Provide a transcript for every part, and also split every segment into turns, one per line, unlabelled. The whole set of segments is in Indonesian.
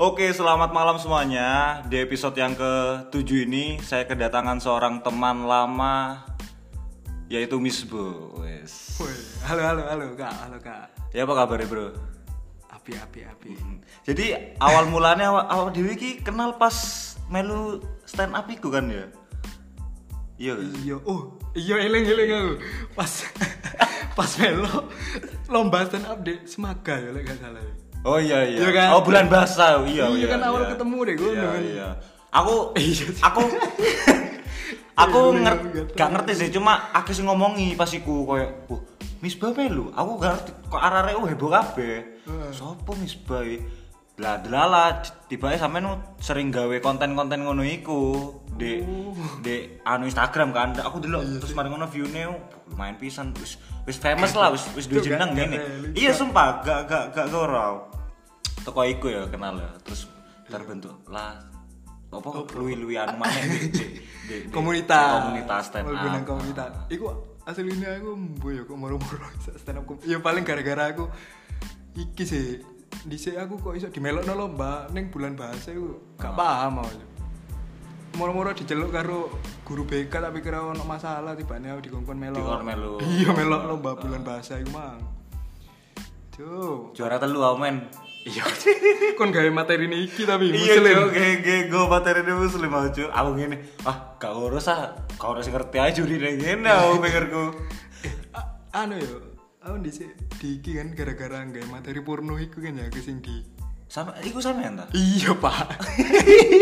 Oke, selamat malam semuanya. Di episode yang ke-7 ini saya kedatangan seorang teman lama yaitu Misbo. Wes.
Woi, halo halo halo kak, halo kak.
Ya apa kabar, Bro?
Api api api.
Jadi awal mulanya awal, awal Dewi ki kenal pas melu stand up iku kan ya. Iya. kan?
Iya, oh iya eling eling aku. Pas pas melo lomba stand up di Semaga ya, lek gak salah. ya.
Oh iya iya.
Iya kan?
Oh bulan basah. Iya
Iya kan, awal ketemu deh gua
Iya
kan.
iya. Aku
Iya.
aku aku
Iya, iya,
nger
iya.
gak ngerti sih cuma aku sih ngomongi pas iku koyo "Wah, Misbah melu, aku gak ngerti kok arare oh heboh kabeh.
Heeh.
Sopo Misbah? iki? Lah delala tibae sampean sering gawe konten-konten ngono iku di
Oh.
di anu Instagram kan. Aku delok
Iya,
terus mari ngono view-ne oh, lumayan pisan wis wis famous lah wis wis duwe
Itu
jeneng
kan,
ngene.
kan,
Iya sumpah gak gak gak gurau. Toko iku ya kenal ya. Terus terbentuk lah apa luwi-luwi anu maneh di- di- di- di-
Komunitas.
komunitas stand
Walaupun yang
up.
Komunitas. Iku aslinya aku mbuh ya kok moro-moro bisa stand up. com- Ya paling gara-gara aku iki sih dhisik aku kok iso dimelokno lomba ning bulan bahasa iku gak
Ah.
paham aku. Moro-moro diceluk karo guru BK tapi kira ono masalah tibane aku dikongkon melok.
Dikongkon Ah. melok.
Iya melok lomba bulan bahasa iku mang. Cuk,
Juara telu amen. Iya.
kon gawe materi niki tapi ya,
Iya
muslim.
oke oke gue materi ini muslim aja. Aku gini, ah gak urus ah, kau harus ngerti aja di ngene aku pikirku.
A- anu yo aku di di iki kan gara-gara nggak materi porno iku kan ya ke sing di
Sama, iku sama ya
iya pak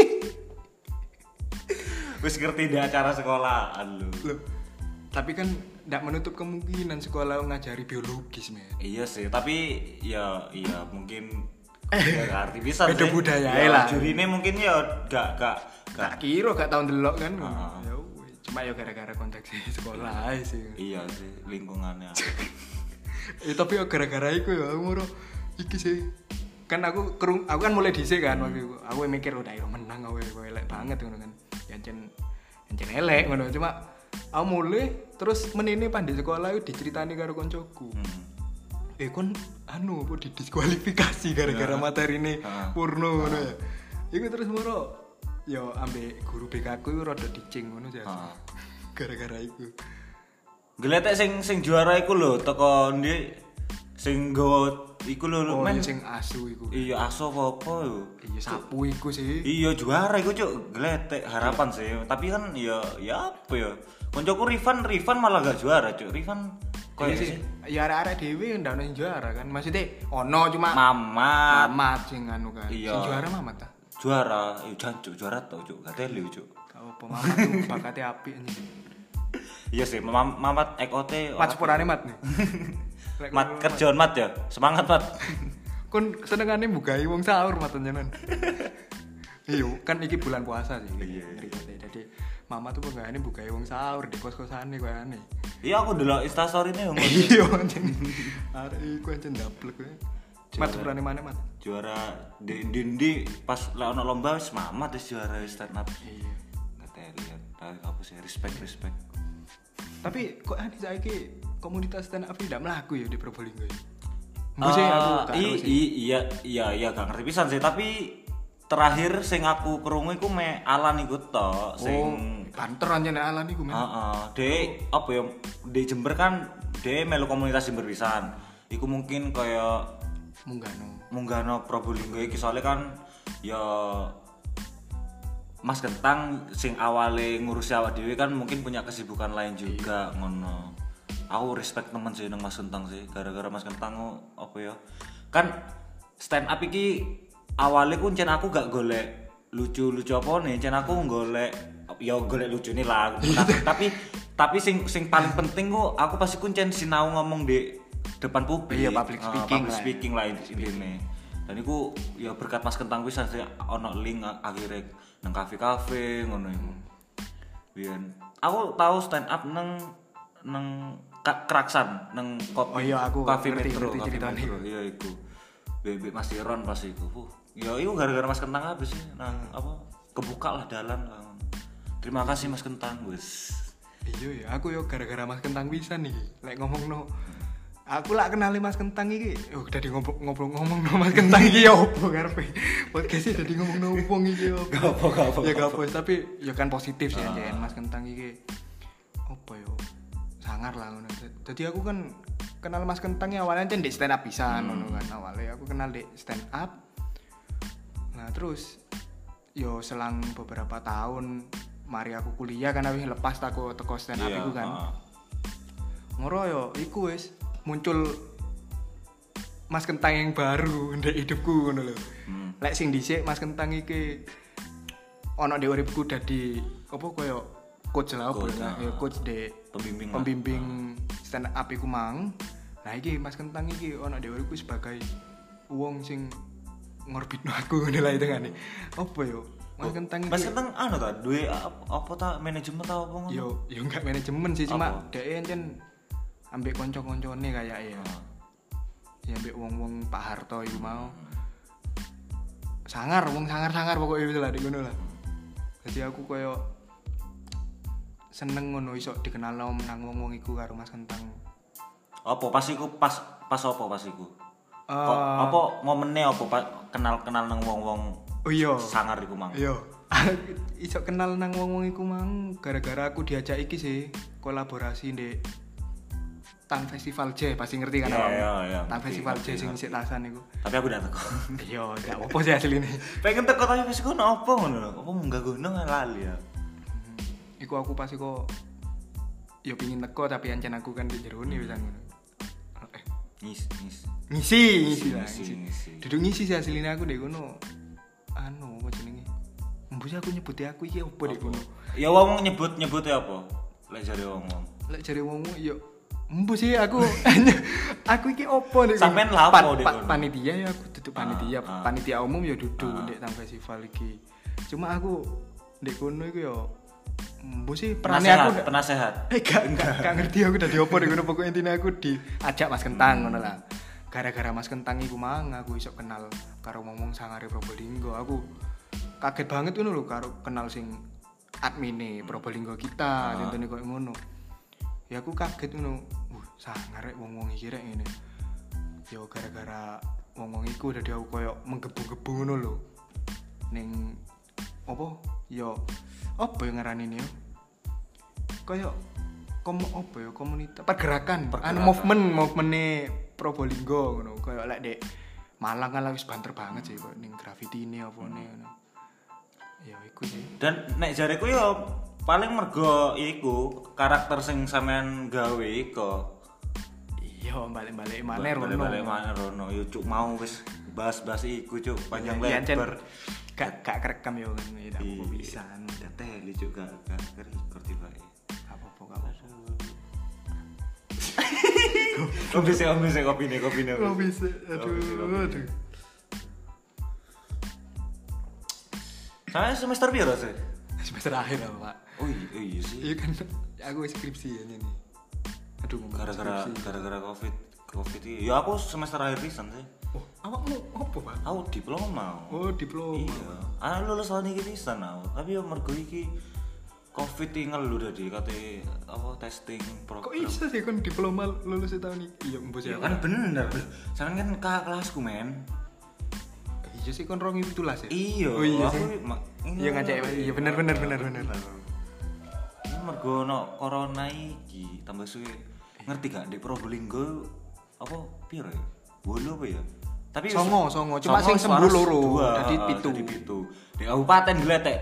Wis ngerti di acara sekolahan lu.
Loh, tapi kan ndak menutup kemungkinan sekolah ngajari biologis men
Iya sih, tapi ya iya mungkin ya gak arti bisa
Eh, Beda budaya
ya,
lah.
Juri ini mungkin ya gak gak gak.
tak kira gak tahun delok kan
Ah.
ya weh, cuma ya gara-gara konteks sekolah ae sih
Iya sih lingkungannya.
eh, tapi ya gara-gara iku ya aku moro iki sih kan aku kerung aku kan mulai dhisik kan waktu itu aku mikir udah ya menang aku aku elek banget ngono kan yancen yancen elek ngono cuma aku mulai terus menini pandai sekolah itu diceritani karo koncoku
Hmm.
eh kon anu apa didiskualifikasi gara-gara materi ini
Ah.
porno ngono ya iku terus moro yo ambek guru BK ku iku rada dicing ngono ya
Ah.
gara-gara iku
Geletek sing sing juara iku lho teko ndi sing nggawa iku lho
oh
men.
iya, sing asu iku
Iya aso apa apa yo.
iya sapu iku sih
Iya juara iku cuk geletek harapan sih. Tapi kan ya ya apa ya. Koncoku Rifan Rifan malah gak juara cuk. Rifan
Iya
koyo
sih.
sih.
Ya arek-arek dhewe ndak ono sing juara kan. Maksudnya ono cuma
Mamat
Mamat sing anu kan.
Iya.
Sing juara Mamat ta.
juara. Iya jan cuk juara tau cuk gak teli cuk.
Gak apa Mamat tuh bakate apik anjing.
Iya sih Mam- Mamat Ekote.
Mat sepurane Mat nih. Lek
Mat
ngono,
kerjaan Mat ya. Semangat Mat.
Kon senengane bugai wong sahur Mat nyenan. Iyo, kan iki bulan puasa sih.
Iya, iya.
Ngerikate. Jadi Mama tuh penggaweane bugai wong sahur di kos-kosane koyo aneh.
Iya aku delok instastory ne
Iya anjing. Arek iku anjing ndablek kowe. Mat sepurane mana Mat?
juara di di, di pas lah ono lomba wis mamat wis juara wis stand up
Iya.
ngeteli lihat tapi apa sih respect respect
Tapi kok aneh saiki komunitas stand up tidak melaku ya di Probolinggo ya? Mbok sih
Eh,
aku
i,
gak tahu sih.
i, iya iya iya gak ngerti pisan sih tapi terakhir sing aku kerungu iku me Alan iku tok sing
Oh, banter aja nek alan iku men.
Heeh, de apa ya de Jember kan de melu komunitas Jember pisan. Iku mungkin kaya
Munggano.
munggahno Probolinggo iki soalnya kan ya Mas Kentang sing awale ngurusi awak dhewe kan mungkin punya kesibukan lain juga
Iya.
ngono. Aku respect temen sih nang Mas Kentang sih gara-gara Mas Kentang ku apa ya? Kan stand up iki awale ku ncen aku gak golek lucu-lucu apa nih, ncen aku golek ya golek lucu nih lah. Tapi- tapi tapi sing sing paling penting ku aku pasti kuncen sinau ngomong di depan publik.
Iya, public
Ah,
speaking
public
lah ya.
speaking lah intine dan iku ya berkat mas kentang pisan sih ono link a- akhirnya nang kafe kafe ngono iku biyen aku tahu stand up nang nang Ka- keraksan nang kopi
Oh iya, aku
kafe
ngerti-
metro
ngerti
Cafe
ceritane.
Metro. iya iku bebek mas Iron pas iku Huh, ya iku gara-gara mas kentang habis sih nang apa kebuka lah dalan lah ngono. terima kasih mas kentang wis
Iya ya, aku yo gara-gara Mas Kentang bisa nih. Lek ngomong no Aku lah kenali Mas Kentang iki. Oh, tadi ngobrol-ngomong no Mas Kentang iki ya opo karepe. Podcast e tadi ngomong no opo iki ya
Gak apa, gak apa, Ah.
Ya
gak
gak apa, tapi ya kan positif sih anjen Mas Kentang iki. Opo yo. Sangar lah ngono. Jadi aku kan kenal Mas Kentang ya awalnya anjen di stand up
Hmm.
pisan ngono kan. Awalnya aku kenal di stand up. Nah, terus yo selang beberapa tahun mari aku kuliah kan habis lepas aku teko stand up
Iya,
iku kan.
ah.
Ngoro yo iku wis muncul Mas Kentang yang baru ndek hidupku ngono lho.
Hmm.
Lek sing dhisik Mas Kentang iki ono di uripku dadi apa koyo coach lah apa
Coach,
ya
ah.
ya, coach de
Pembimbing lah.
pembimbing stand up iku mang. Nah iki Mas Kentang iki ono di uripku sebagai wong sing ngorbitno aku ngono lah itu kan. Apa yo? Mas Kentang
Oh, Mas
iki-
Kentang anu ta duwe ap- apa ta manajemen ta apa ngono?
yo yo enggak manajemen sih cuma
Apa?
dhek enten ambek kanca-kancane kayak ya.
Ah.
Ya ambek wong-wong Pak Harto iku mau. Sangar, wong sangar-sangar pokoknya itu lah di ngono lah. Jadi aku koyo seneng ngono iso dikenal nang wong-wong iku karo Mas Kentang.
Oh, Apa pas iku pas pas apa pas iku? Kok
Eh,
apa momennya apa pa- kenal-kenal nang wong-wong
oh iya.
sangar iku mang.
Iya. iso kenal nang wong-wong iku mang gara-gara aku diajak iki sih kolaborasi ndek Tang Festival J pasti ngerti kan
Iya,
awakmu?
iya, iya,
Tang
ngerti,
Festival J
ngerti,
sing
ngerti.
isik tasan iku.
Tapi aku ndak teko.
Iya, gak apa sih asli ini.
Pengen teko tapi pas iku ono apa ngono lho. Apa munggah gunung lali ya.
Iku aku pasti kok ya pingin teko tapi ancen aku kan di jero nih bisa ngono. Eh,
Nis nis.
Ngisi, ngisi lah,
Ngisi,
ngisi.
ngisi.
Duduk ngisi sih asli ini aku deh ngono. Anu, apa jenenge? Mbus aku nyebutnya aku iki opo deh ngono.
Ya wong nyebut nyebut ya apa? Lek jare wong-wong.
Lek jare wongmu ya embu sih aku aku iki opo nek
Sampean lah apa nek
Pan- pan-
ngono?
panitia ya aku duduk
Ah,
panitia
ah.
panitia umum ya duduk
Ah.
nek nang festival iki cuma aku nek kono iku ya embu sih perannya aku
Penasehat, penasehat.
eh gak, gak, gak ngerti aku dari opo nek kono pokoknya intinya aku diajak Mas Kentang ngono lah gara-gara Mas Kentang iku mang aku iso kenal karo ngomong sangare Probolinggo aku kaget banget ngono lho karo kenal sing admine Probolinggo
Ah.
kita contohnya koyo ngono ya aku kaget ngono wah sangar rek wong-wong iki rek ngene ya gara-gara wong-wong iku dadi aku koyo menggebu-gebu ngono lho ning opo ya apa yang ngarani ini ya koyo kom apa ya komunitas pergerakan, anu
Pergerakan.
movement movement Probolinggo ngono koyo lek dek Malang kan lah wis banter banget sih koyo ning graffiti ini apa
Hmm.
ini ngono. ya iku sih
dan nek jareku ya paling mergo iku karakter sing sampean gawe iku
iya balik-balik mana
Balik-
rono
balik-balik maneh rono yo cuk mau wis bahas-bahas iku cuk panjang
Ya, Cen,
lebar
gak gak kerekam ya kan ya gak apa-apa
Iya.
bisa anu.
ada tele cuk gak gak record tiba
Gak apa-apa gak apa-apa
Kopi sih, kopi sih, kopi nih, kopi nih.
aduh
Saya semester biru sih.
semester akhir apa Pak
Oh iya, oh iya sih.
iya kan aku skripsi ya ini aduh ngomong
Gara-gara
skripsi.
gara-gara covid, covid ini. Ya aku semester akhir pisan sih.
oh awakmu apa Pak
Aku diploma.
Oh diploma.
Iya. Aku lulus tahun ini pisan aku. Tapi yo mergo iki Covid iki ngelu tadi kate apa testing program.
Kok bisa sih kon diploma lulus tahun ini? Iya mbos
Ya
ya.
kan bener. Sampeyan kan kakak kelasku, men.
Iya sih kon rong itu lah sih.
Iya,
Oh iya sih.
aku ma-
Iya ngajak iya bener bener bener bener.
Ini mergo ono corona iki tambah suwe. Ngerti gak di Probolinggo apa piro ya? Bolo apa ya? Tapi
Songo, songo. Cuma sing sembuh loro. Dadi pitu.
Jadi ah, pitu. Di Kabupaten Gletek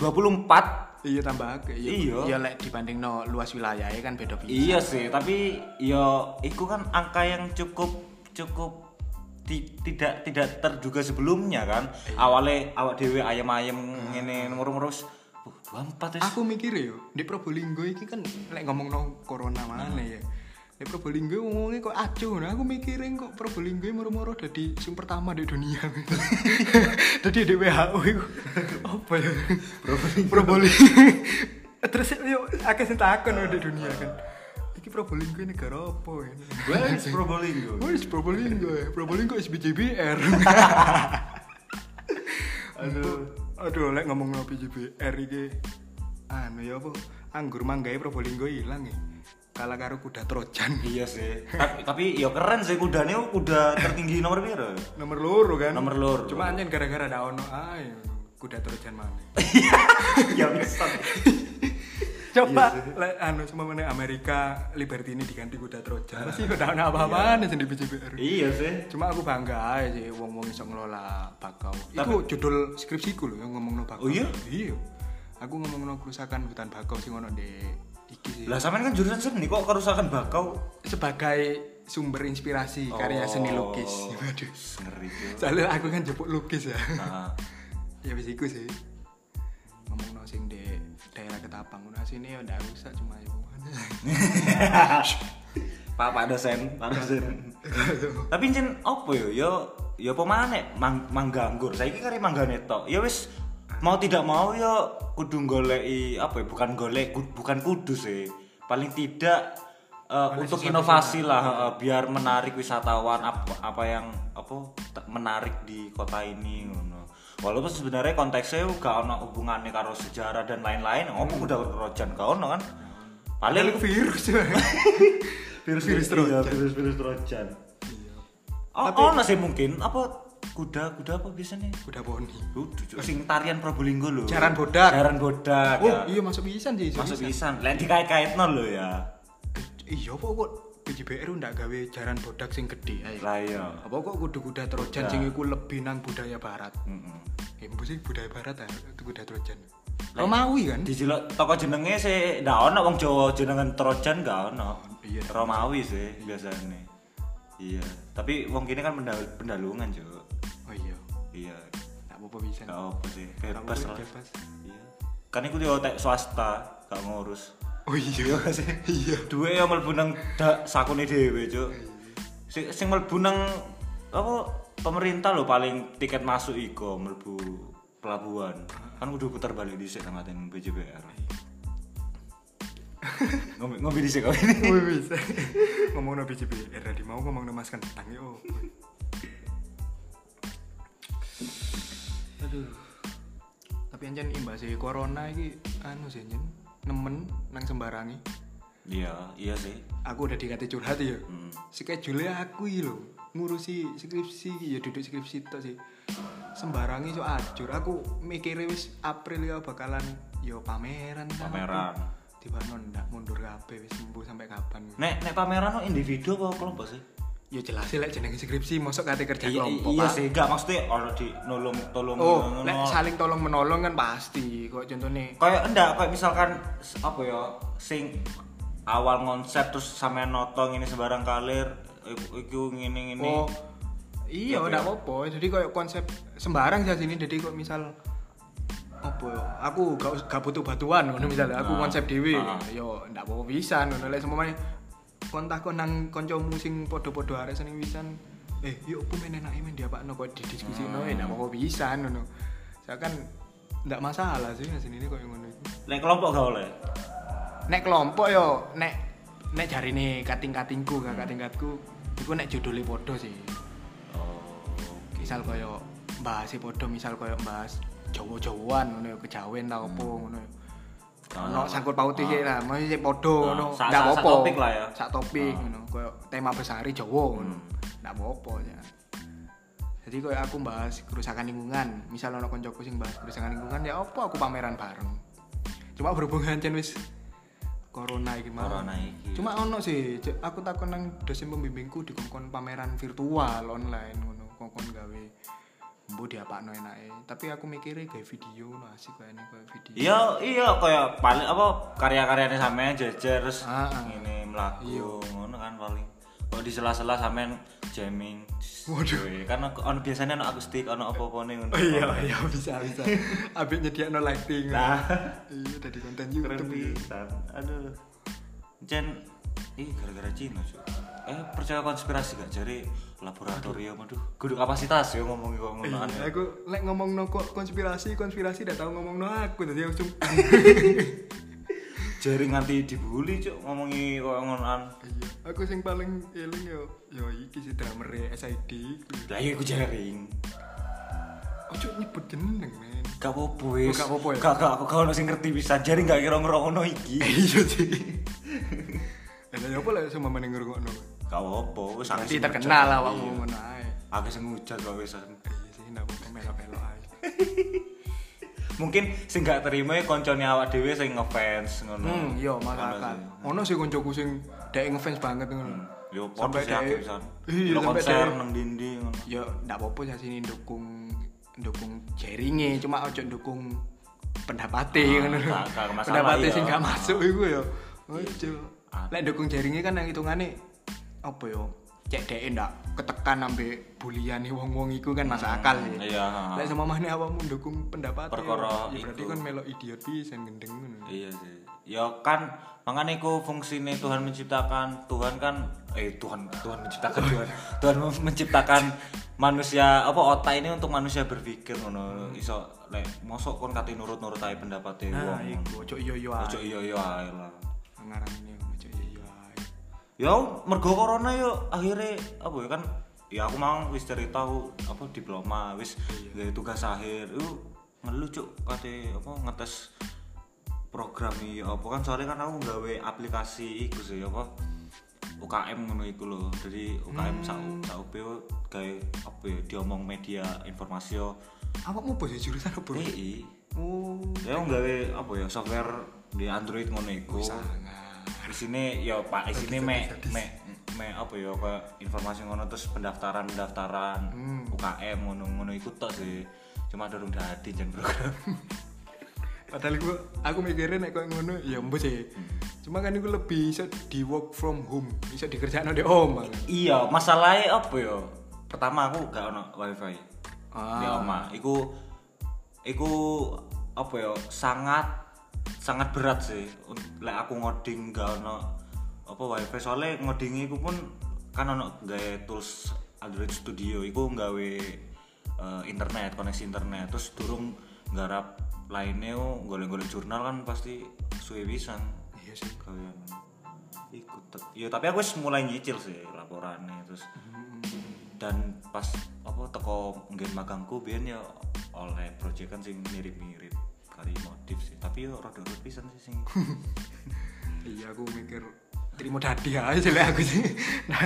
24
Iya tambah akeh.
Iya.
Iya lek dibanding no luas wilayah kan beda pisan.
Iya sih, tapi ya itu kan angka yang cukup cukup ti- tidak tidak terduga sebelumnya kan.
Iya.
Awalnya awak dhewe ayam-ayam ngene nomor-nomor wis uh, 24 wis.
Hmm. Aku mikir yo, di Probolinggo iki kan lek ngomong no corona mana ya. Di Probolinggo ngomongnya kok acuh. Nah, aku mikirin kok Probolinggo moro-moro dadi sing pertama di dunia. Dadi di WHO iku. Apa ya? Probolinggo. Terus yo akeh sing takon di dunia kan. Iki Probolinggo ini negara apa ya? ini?
Where is Probolinggo?
Wes Probolinggo ya. Probolinggo SBJBR. aduh. Aduh, lek ngomong no PJBR iki anu ya apa? Anggur manggae Probolinggo e ilang ya. kalah karo kuda Trojan
iya sih tapi, tapi ya keren sih kudanya kuda tertinggi nomor biru
nomor loro kan
Nomor loro.
cuma anjen gara-gara ada ono ae kuda Trojan mana
ya bisa Iya
coba le, anu cuma mana Amerika Liberty ini diganti
Nah.
kuda Trojan masih kuda ono apa-apaan yang di BCBR
iya sih
cuma aku bangga aja sih wong wong bisa ngelola bakau itu judul skripsiku loh yang ngomong no
Oh
bakau
iya?
iya aku ngomong no kerusakan hutan bakau sih ngono di iki sih
lah sampean kan jurusan seni kok kerusakan bakau
sebagai sumber inspirasi karya seni lukis
Oh.
waduh
ngeri tuh
soalnya aku kan jepuk lukis ya
Nah,
ya wis iku sih ngomong no sing di daerah ketapang udah sini ya udah rusak cuma ya mana
Nah. Pak Pak dosen, Pak dosen. Tapi jen opo yo yo yo apa maneh mang, mangganggur. Saiki kari manggane tok. Ya wis mau tidak mau yo kudu goleki apa ya bukan golek ku- bukan kudu sih. Paling tidak eh, untuk inovasi lah eh, biar menarik wisatawan apa apa yang apa te- menarik di kota ini ngono. Walaupun sebenarnya konteksnya gak ono hubungannya karo sejarah dan lain-lain, opo udah rojan gak ono kan. Paling
Padahal aku virus ya Virus Trojan.
virus virus trojan
iya
oh oh nasi mungkin apa kuda kuda apa biasanya
udah boni
Kudu, Cuk. sing tarian Probolinggo lho.
Jaran Bodak.
Jaran Bodak.
oh
ya.
iya masuk pisan sih iso
Masuk
pisan.
pisan. Lek dikait-kaitno lho ya.
Eh, iya apa kok PJBR ndak gawe jaran bodak sing gede ae
Lah iya.
apa kok kudu-kuda trojan
Kuda.
sing iku lebih nang budaya barat
Heeh.
ya mbok sih budaya barat ya kuda trojan Romawi kan
Dijilok toko jenenge sih ndak ono wong Jawa jenengan Trojan gak ono.
Iya.
Romawi sih biasanya. Iya. Tapi wong kene kan pendal- pendalungan, Cuk.
oh iya
Iya.
ndak apa-apa pisan
Gak apa sih. Oh, Bebas lah.
bebas
Iya. Kan iku yo tek swasta, gak ngurus.
oh iya
sih.
iya
Duwe ya mlebu nang dak sakune dhewe, Cuk.
Iya.
Sing sing mlebu nang apa pemerintah lho paling tiket masuk iku mlebu pelabuhan. Kan kudu putar balik dhisik nang aten
Iya.
BJBR. ngombe ngombe dhisik kok ini.
Wih, bisa. ngomong no BJBR tadi mau ngomong no mas kentang yo. Aduh. Tapi anjen imbas sih corona ini anu sih anjen nemen nang sembarangi.
Iya, iya sih.
Aku udah dikati curhat ya.
Hmm.
Schedule aku iki lho ngurusi skripsi iki, ya duduk skripsi tok sih. Sembarangi so ajur. Aku mikirnya wis April ya bakalan yo pameran ta.
Pameran.
Tiba ndak mundur kabeh wis sembuh sampai kapan.
Nek nek pameran kok individu apa kelompok sih?
Ya jelas sih lek jenenge skripsi mosok kate kerja
Iya,
kelompok.
iya
Pak.
sih, enggak maksudnya ono di nolong tolong
Oh,
ngono.
lek saling tolong menolong kan pasti. Kok contohnya
kayak enggak kayak misalkan s- apa ya sing awal konsep terus sampe notong ini sembarang kalir i- iku ngene ngene
Oh. Iya,
Iya,
ndak
iya.
apa-apa. Jadi koyo konsep sembarang sih sini. Jadi kok misal apa ya? Aku gak, us- gak butuh batuan ngono misalnya. Aku
Ah,
konsep dhewe.
ah.
Yo ndak apa-apa pisan ngono lek semuanya kontak kon nang kancamu sing padha-padha arek seneng pisan. Eh, yuk aku main enak main diapakno kok didiskusino eh ndak apa-apa pisan ngono. Saya kan ndak masalah sih sini ini kok yang ngono. iku.
lek kelompok gak oleh
nek kelompok yo nek nek jari nih kating katingku gak kating katku itu nek judulnya podo sih misal koyo bahas podo misal koyo bahas jawa jawaan ngono yo kejawen tau apa ngono yo
Ah.
ono sangkut pauti sih lah mau sih
Ah.
podo ngono
Sa-
ndak
sa-
apa
sak topik lah ya.
sak topik
Ah.
ngono koyo tema besar jawa ngono
Hmm.
ndak apa ya jadi koyo aku bahas kerusakan lingkungan misal ono koncoku sing bahas kerusakan lingkungan ya apa aku pameran bareng cuma berhubungan cen wis corona iki mau
corona iki
cuma ono sih Cek, aku takon nang dosen pembimbingku dikongkon pameran virtual online ngono kongkon gawe mbo diapakno enake tapi aku mikirnya gawe video ngono asik kayaknya kayak video
iya iya kayak paling apa karya-karyanya sampean jejer terus
Ah, ah.
ngene mlaku ngono kan paling kalau di sela-sela sampean jamming
Waduh.
kan aku- ono biasanya ono akustik ono apa-apa ngono
oh iya iya bisa bisa abis nyediakno lighting ngono.
Nah.
iya dari konten
keren
YouTube iya.
pisan aduh Jen ih gara-gara Cina cuy eh percaya konspirasi gak jadi laboratorium aduh kudu kapasitas ya ngomong kok ngono
Iya,
aneh.
aku lek ngomong no konspirasi konspirasi tidak tahu ngomong no aku tadi aku Iya, cuma
jari nganti dibully cuy ngomongi kok ngonoan
Iya, aku sing paling eling yo yo iki si drummer SID
lah iya aku jaring
ojo nyebut jeneng men
gak apa-apa wis
Oh, gak apa-apa ya?
gak gak aku gak ono sing ngerti bisa jari gak kira ngerono iki
iya sih ya apa lah semua maning ngrungokno.
Gak apa, wis akeh
Nanti
sing ngujat.
terkenal lah awakmu ngono ae.
Akeh sing ngujat kok wis.
Iya sih ndak mau melo-melo ae.
Mungkin sing gak terima ya koncone awak dhewe sing ngefans ngono.
Hmm, iya
Ngono
masakan.
sih.
Ono sih koncoku sing dek ngefans banget ngono.
Hmm. Yo sampai
Sampai
sih akeh
dhewe-
pisan.
Iya,
Lo
sampai
konser
dhewe-
nang dindi ngono.
Ya ndak apa-apa sih sini dukung dukung jaringe cuma ojo dukung pendapate
Ah,
ngono lho.
gak- gak masalah,
Pendapate
iya.
sing gak masuk iku ya. Ojo.
Ah.
Lek dukung jaringe kan nang hitungane apa ya? Cek deke ndak ketekan ambek buliane wong-wong iku kan masuk akal ya.
Iya. ha.
Lek sama mana awakmu dukung pendapat
Perkara
ya, berarti
iku.
kan melo idiot pisan gendeng ngono.
Iya sih. Ya kan makanya iku fungsinya Tuhan menciptakan Tuhan kan eh Tuhan Tuhan menciptakan Tuhan Tuhan mem- menciptakan manusia apa otak ini untuk manusia berpikir ngono iso lek mosok kon kate nurut-nurut ae pendapatnya
Nah,
wong.
iku ojo yo-yo
Iya,
ae.
Ojo iya iya ae lah.
Ngaran ini ojo yo-yo ae.
Ya mergo corona yo akhirnya apa ya kan ya aku mau wis cerita aku apa diploma wis gawe tugas akhir. Yo ngelu cuk kate apa ngetes program iki apa kan soalnya kan aku gawe aplikasi iku sih apa UKM ngono iku lho. Jadi UKM sak sak UP yo gawe apa ya diomong media informasi yo
Awakmu bos ya jurusan apa?
TI.
Oh,
Ya aku gawe apa ya software di Android ngono iku.
Ah, sangat.
di sini ya pak di sini me me me apa ya kayak informasi ngono terus pendaftaran pendaftaran UKM ngono ngono ikut tok sih cuma dorong dadi jan program
Padahal gue, aku mikirin nek koyo ngono, ya mbok sih. Cuma kan gue lebih bisa di work from home, bisa dikerjakan di oma.
iya masalahnya apa ya pertama aku gak ono wifi di
Ah.
oma iku iku apa ya sangat sangat berat sih Un- lek aku ngoding gak ono apa wifi soalnya ngoding iku pun kan ono gawe tools Android Studio iku nggawe eh, internet koneksi internet terus durung nggarap lainnya oh, golek-golek jurnal kan pasti suwe pisan gitu.
Iya sih.
kalian ikut tet- ya tapi aku wis mulai nyicil sih laporannya terus
Hmm.
dan pas apa teko ngen magangku biyen ya oleh project kan sing mirip-mirip kali motif sih tapi yo rada rada pisan sih sing
Iya, aku mikir terima dadi aja sih lek aku sih. Nah,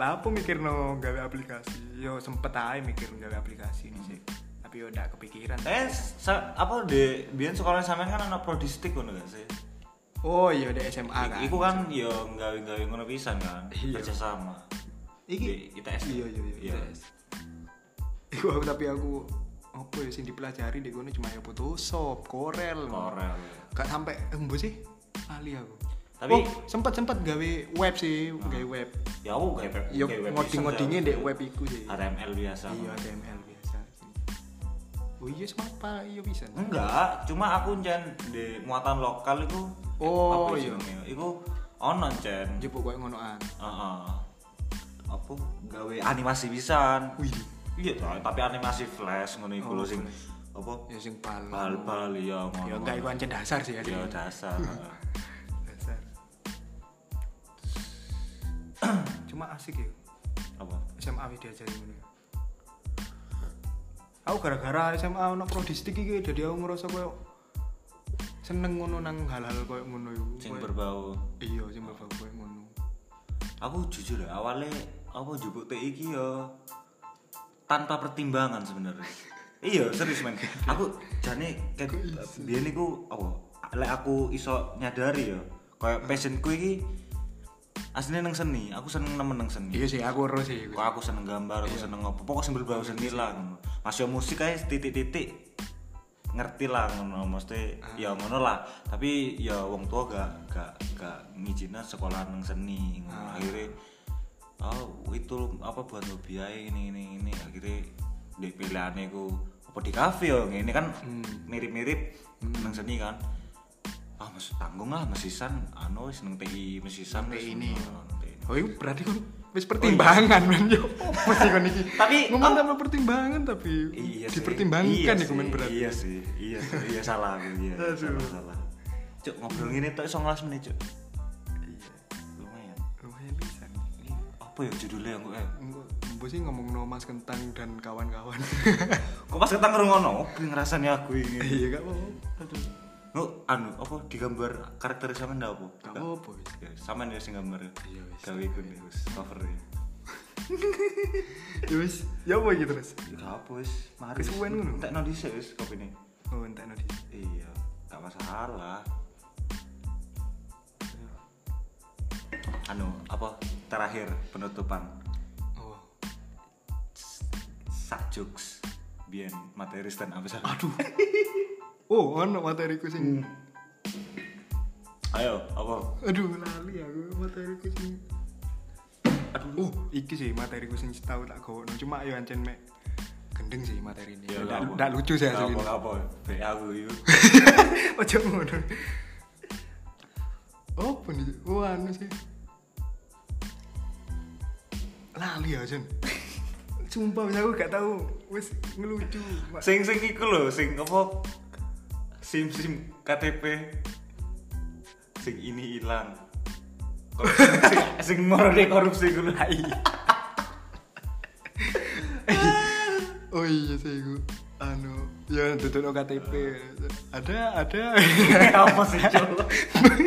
lah aku mikir no gawe aplikasi. Yo sempet aja mikir gawe aplikasi ini sih. Tapi yo ndak kepikiran.
eh sa- apa de biyen sekolah sampean kan ana prodistik ngono gak sih
Oh iya, di SMA kan.
iku kan yo gawe-gawe ngono pisan kan
Iya.
kerjasama
Iki-
Di ITS
Iya iya iya. ITS. Iku aku tapi aku apa ya sing dipelajari di kono cuma ya Photoshop, Corel.
Corel.
Gak sampai embo sih. Ali aku.
Tapi-
oh, sempat sempat gawe web sih, gawe web.
ya aku gawe web
Yo
gawe web
ngoding-ngodingnya
desain,
di web iku sih.
HTML biasa
Iya HTML biasa. sih. Oh iya semapa iya bisa.
Hmm? Enggak, cuma aku njen di muatan lokal itu
Oh,
apa
iya.
jenengnya? Iku ono njen.
Jebuk koyo ah. ngonoan.
Heeh. Apa gawe animasi pisan.
Wih.
Iya toh, tapi animasi flash ngono iku
Oh,
lho sing
flash.
apa
Ya sing pal.
bal-bal ya ngono.
Ya enggak iku ancen dasar sih ya. sih.
Ya dasar.
Dasar. cuma asik ya.
apa?
SMA wis diajari ngono. ya. Aku gara-gara SMA ono prodistik iki dadi aku ngerasa koyo seneng ngono nang hal-hal koyo ngono iku.
Sing
Koyo-
berbau
Iya, sing berbau koyo ngono.
aku jujur ya awalnya apa jupuk TI iki ya tanpa pertimbangan sebenarnya iya serius men aku jane kayak biyen niku apa lek aku iso nyadari ya kayak passionku iki aslinya nang seni aku seneng nemen nang seni
Iya sih, aku ero sih. iku.
kok aku seneng gambar
Iya.
aku seneng apa pokoknya sing berbau seni lah ngono. masih musik aja titik-titik ngerti lah ngono mesti
Ah.
ya ngono lah tapi ya wong tua gak gak gak ngijinin sekolah nang seni ngono
Ah.
akhirnya oh itu apa buat hobi aja ini ini ini akhirnya di pilihannya ku apa di kafe ya ini kan
Hmm.
mirip-mirip nang seni kan ah mas tanggung lah mesisan anu wis nang TI mesisan
Nang
wis
TI ini.
ngono, nang TI.
Oh, iku berarti kan wis pertimbangan men yo. Apa sih kon iki?
iya. Tapi- ah.
ngomong sama pertimbangan tapi
iya sih.
dipertimbangkan
Iya
iku men
sih,
berarti.
iya sih iya sih iya salah aku iya
Aduh.
salah salah cuk ngobrol ngene tok iso ngelas menit cuk
Iya.
lumayan
Lumayan bisa.
apa ya judulnya aku eh
Enggak, mbok sih ngomong no Mas Kentang dan kawan-kawan.
kok pas ketang ngrungono opo ngrasani aku ini
Iya, gak apa-apa. Aduh.
Lu anu apa digambar karakter sampean ndak apa?
Gak apa-apa wis.
Ya, sampean ya sing gambar.
Iya, wis.
Gawe iku nih, wis cover ya.
Ya wis, ya apa iki terus?
Gak apa wis, mari.
Wis uwen ngono.
Entekno dhisik wis kopine.
Oh, entek nanti.
Iya, gak masalah. Anu, apa terakhir penutupan
Oh.
Sakjuks Bien materi stand up sih.
Aduh. Oh, ono materiku sing
Hmm. Ayo, apa?
Aduh, lali aku materiku sing
Aduh.
Oh, iki sih materiku sing tau tak gono. Cuma yo ancen mek gendeng sih materi ini.
Ya,
Ndak-
apa.
ndak lucu sih asli.
Apa apa? Be aku yuk.
Ojo ngono. Apa nih? Oh, anu sih. Lali ya, Jen. Sumpah, wis aku gak tahu. Wis ngelucu. Ma-
Sing sing iku lho, sing apa? SIM SIM KTP. Sing ini hilang. Kor- sing sing morone korupsi iku lho. iya.
Oh iya sih, gue. Anu, ya duduk KTP. Ada, ada.
Apa sih, Cok?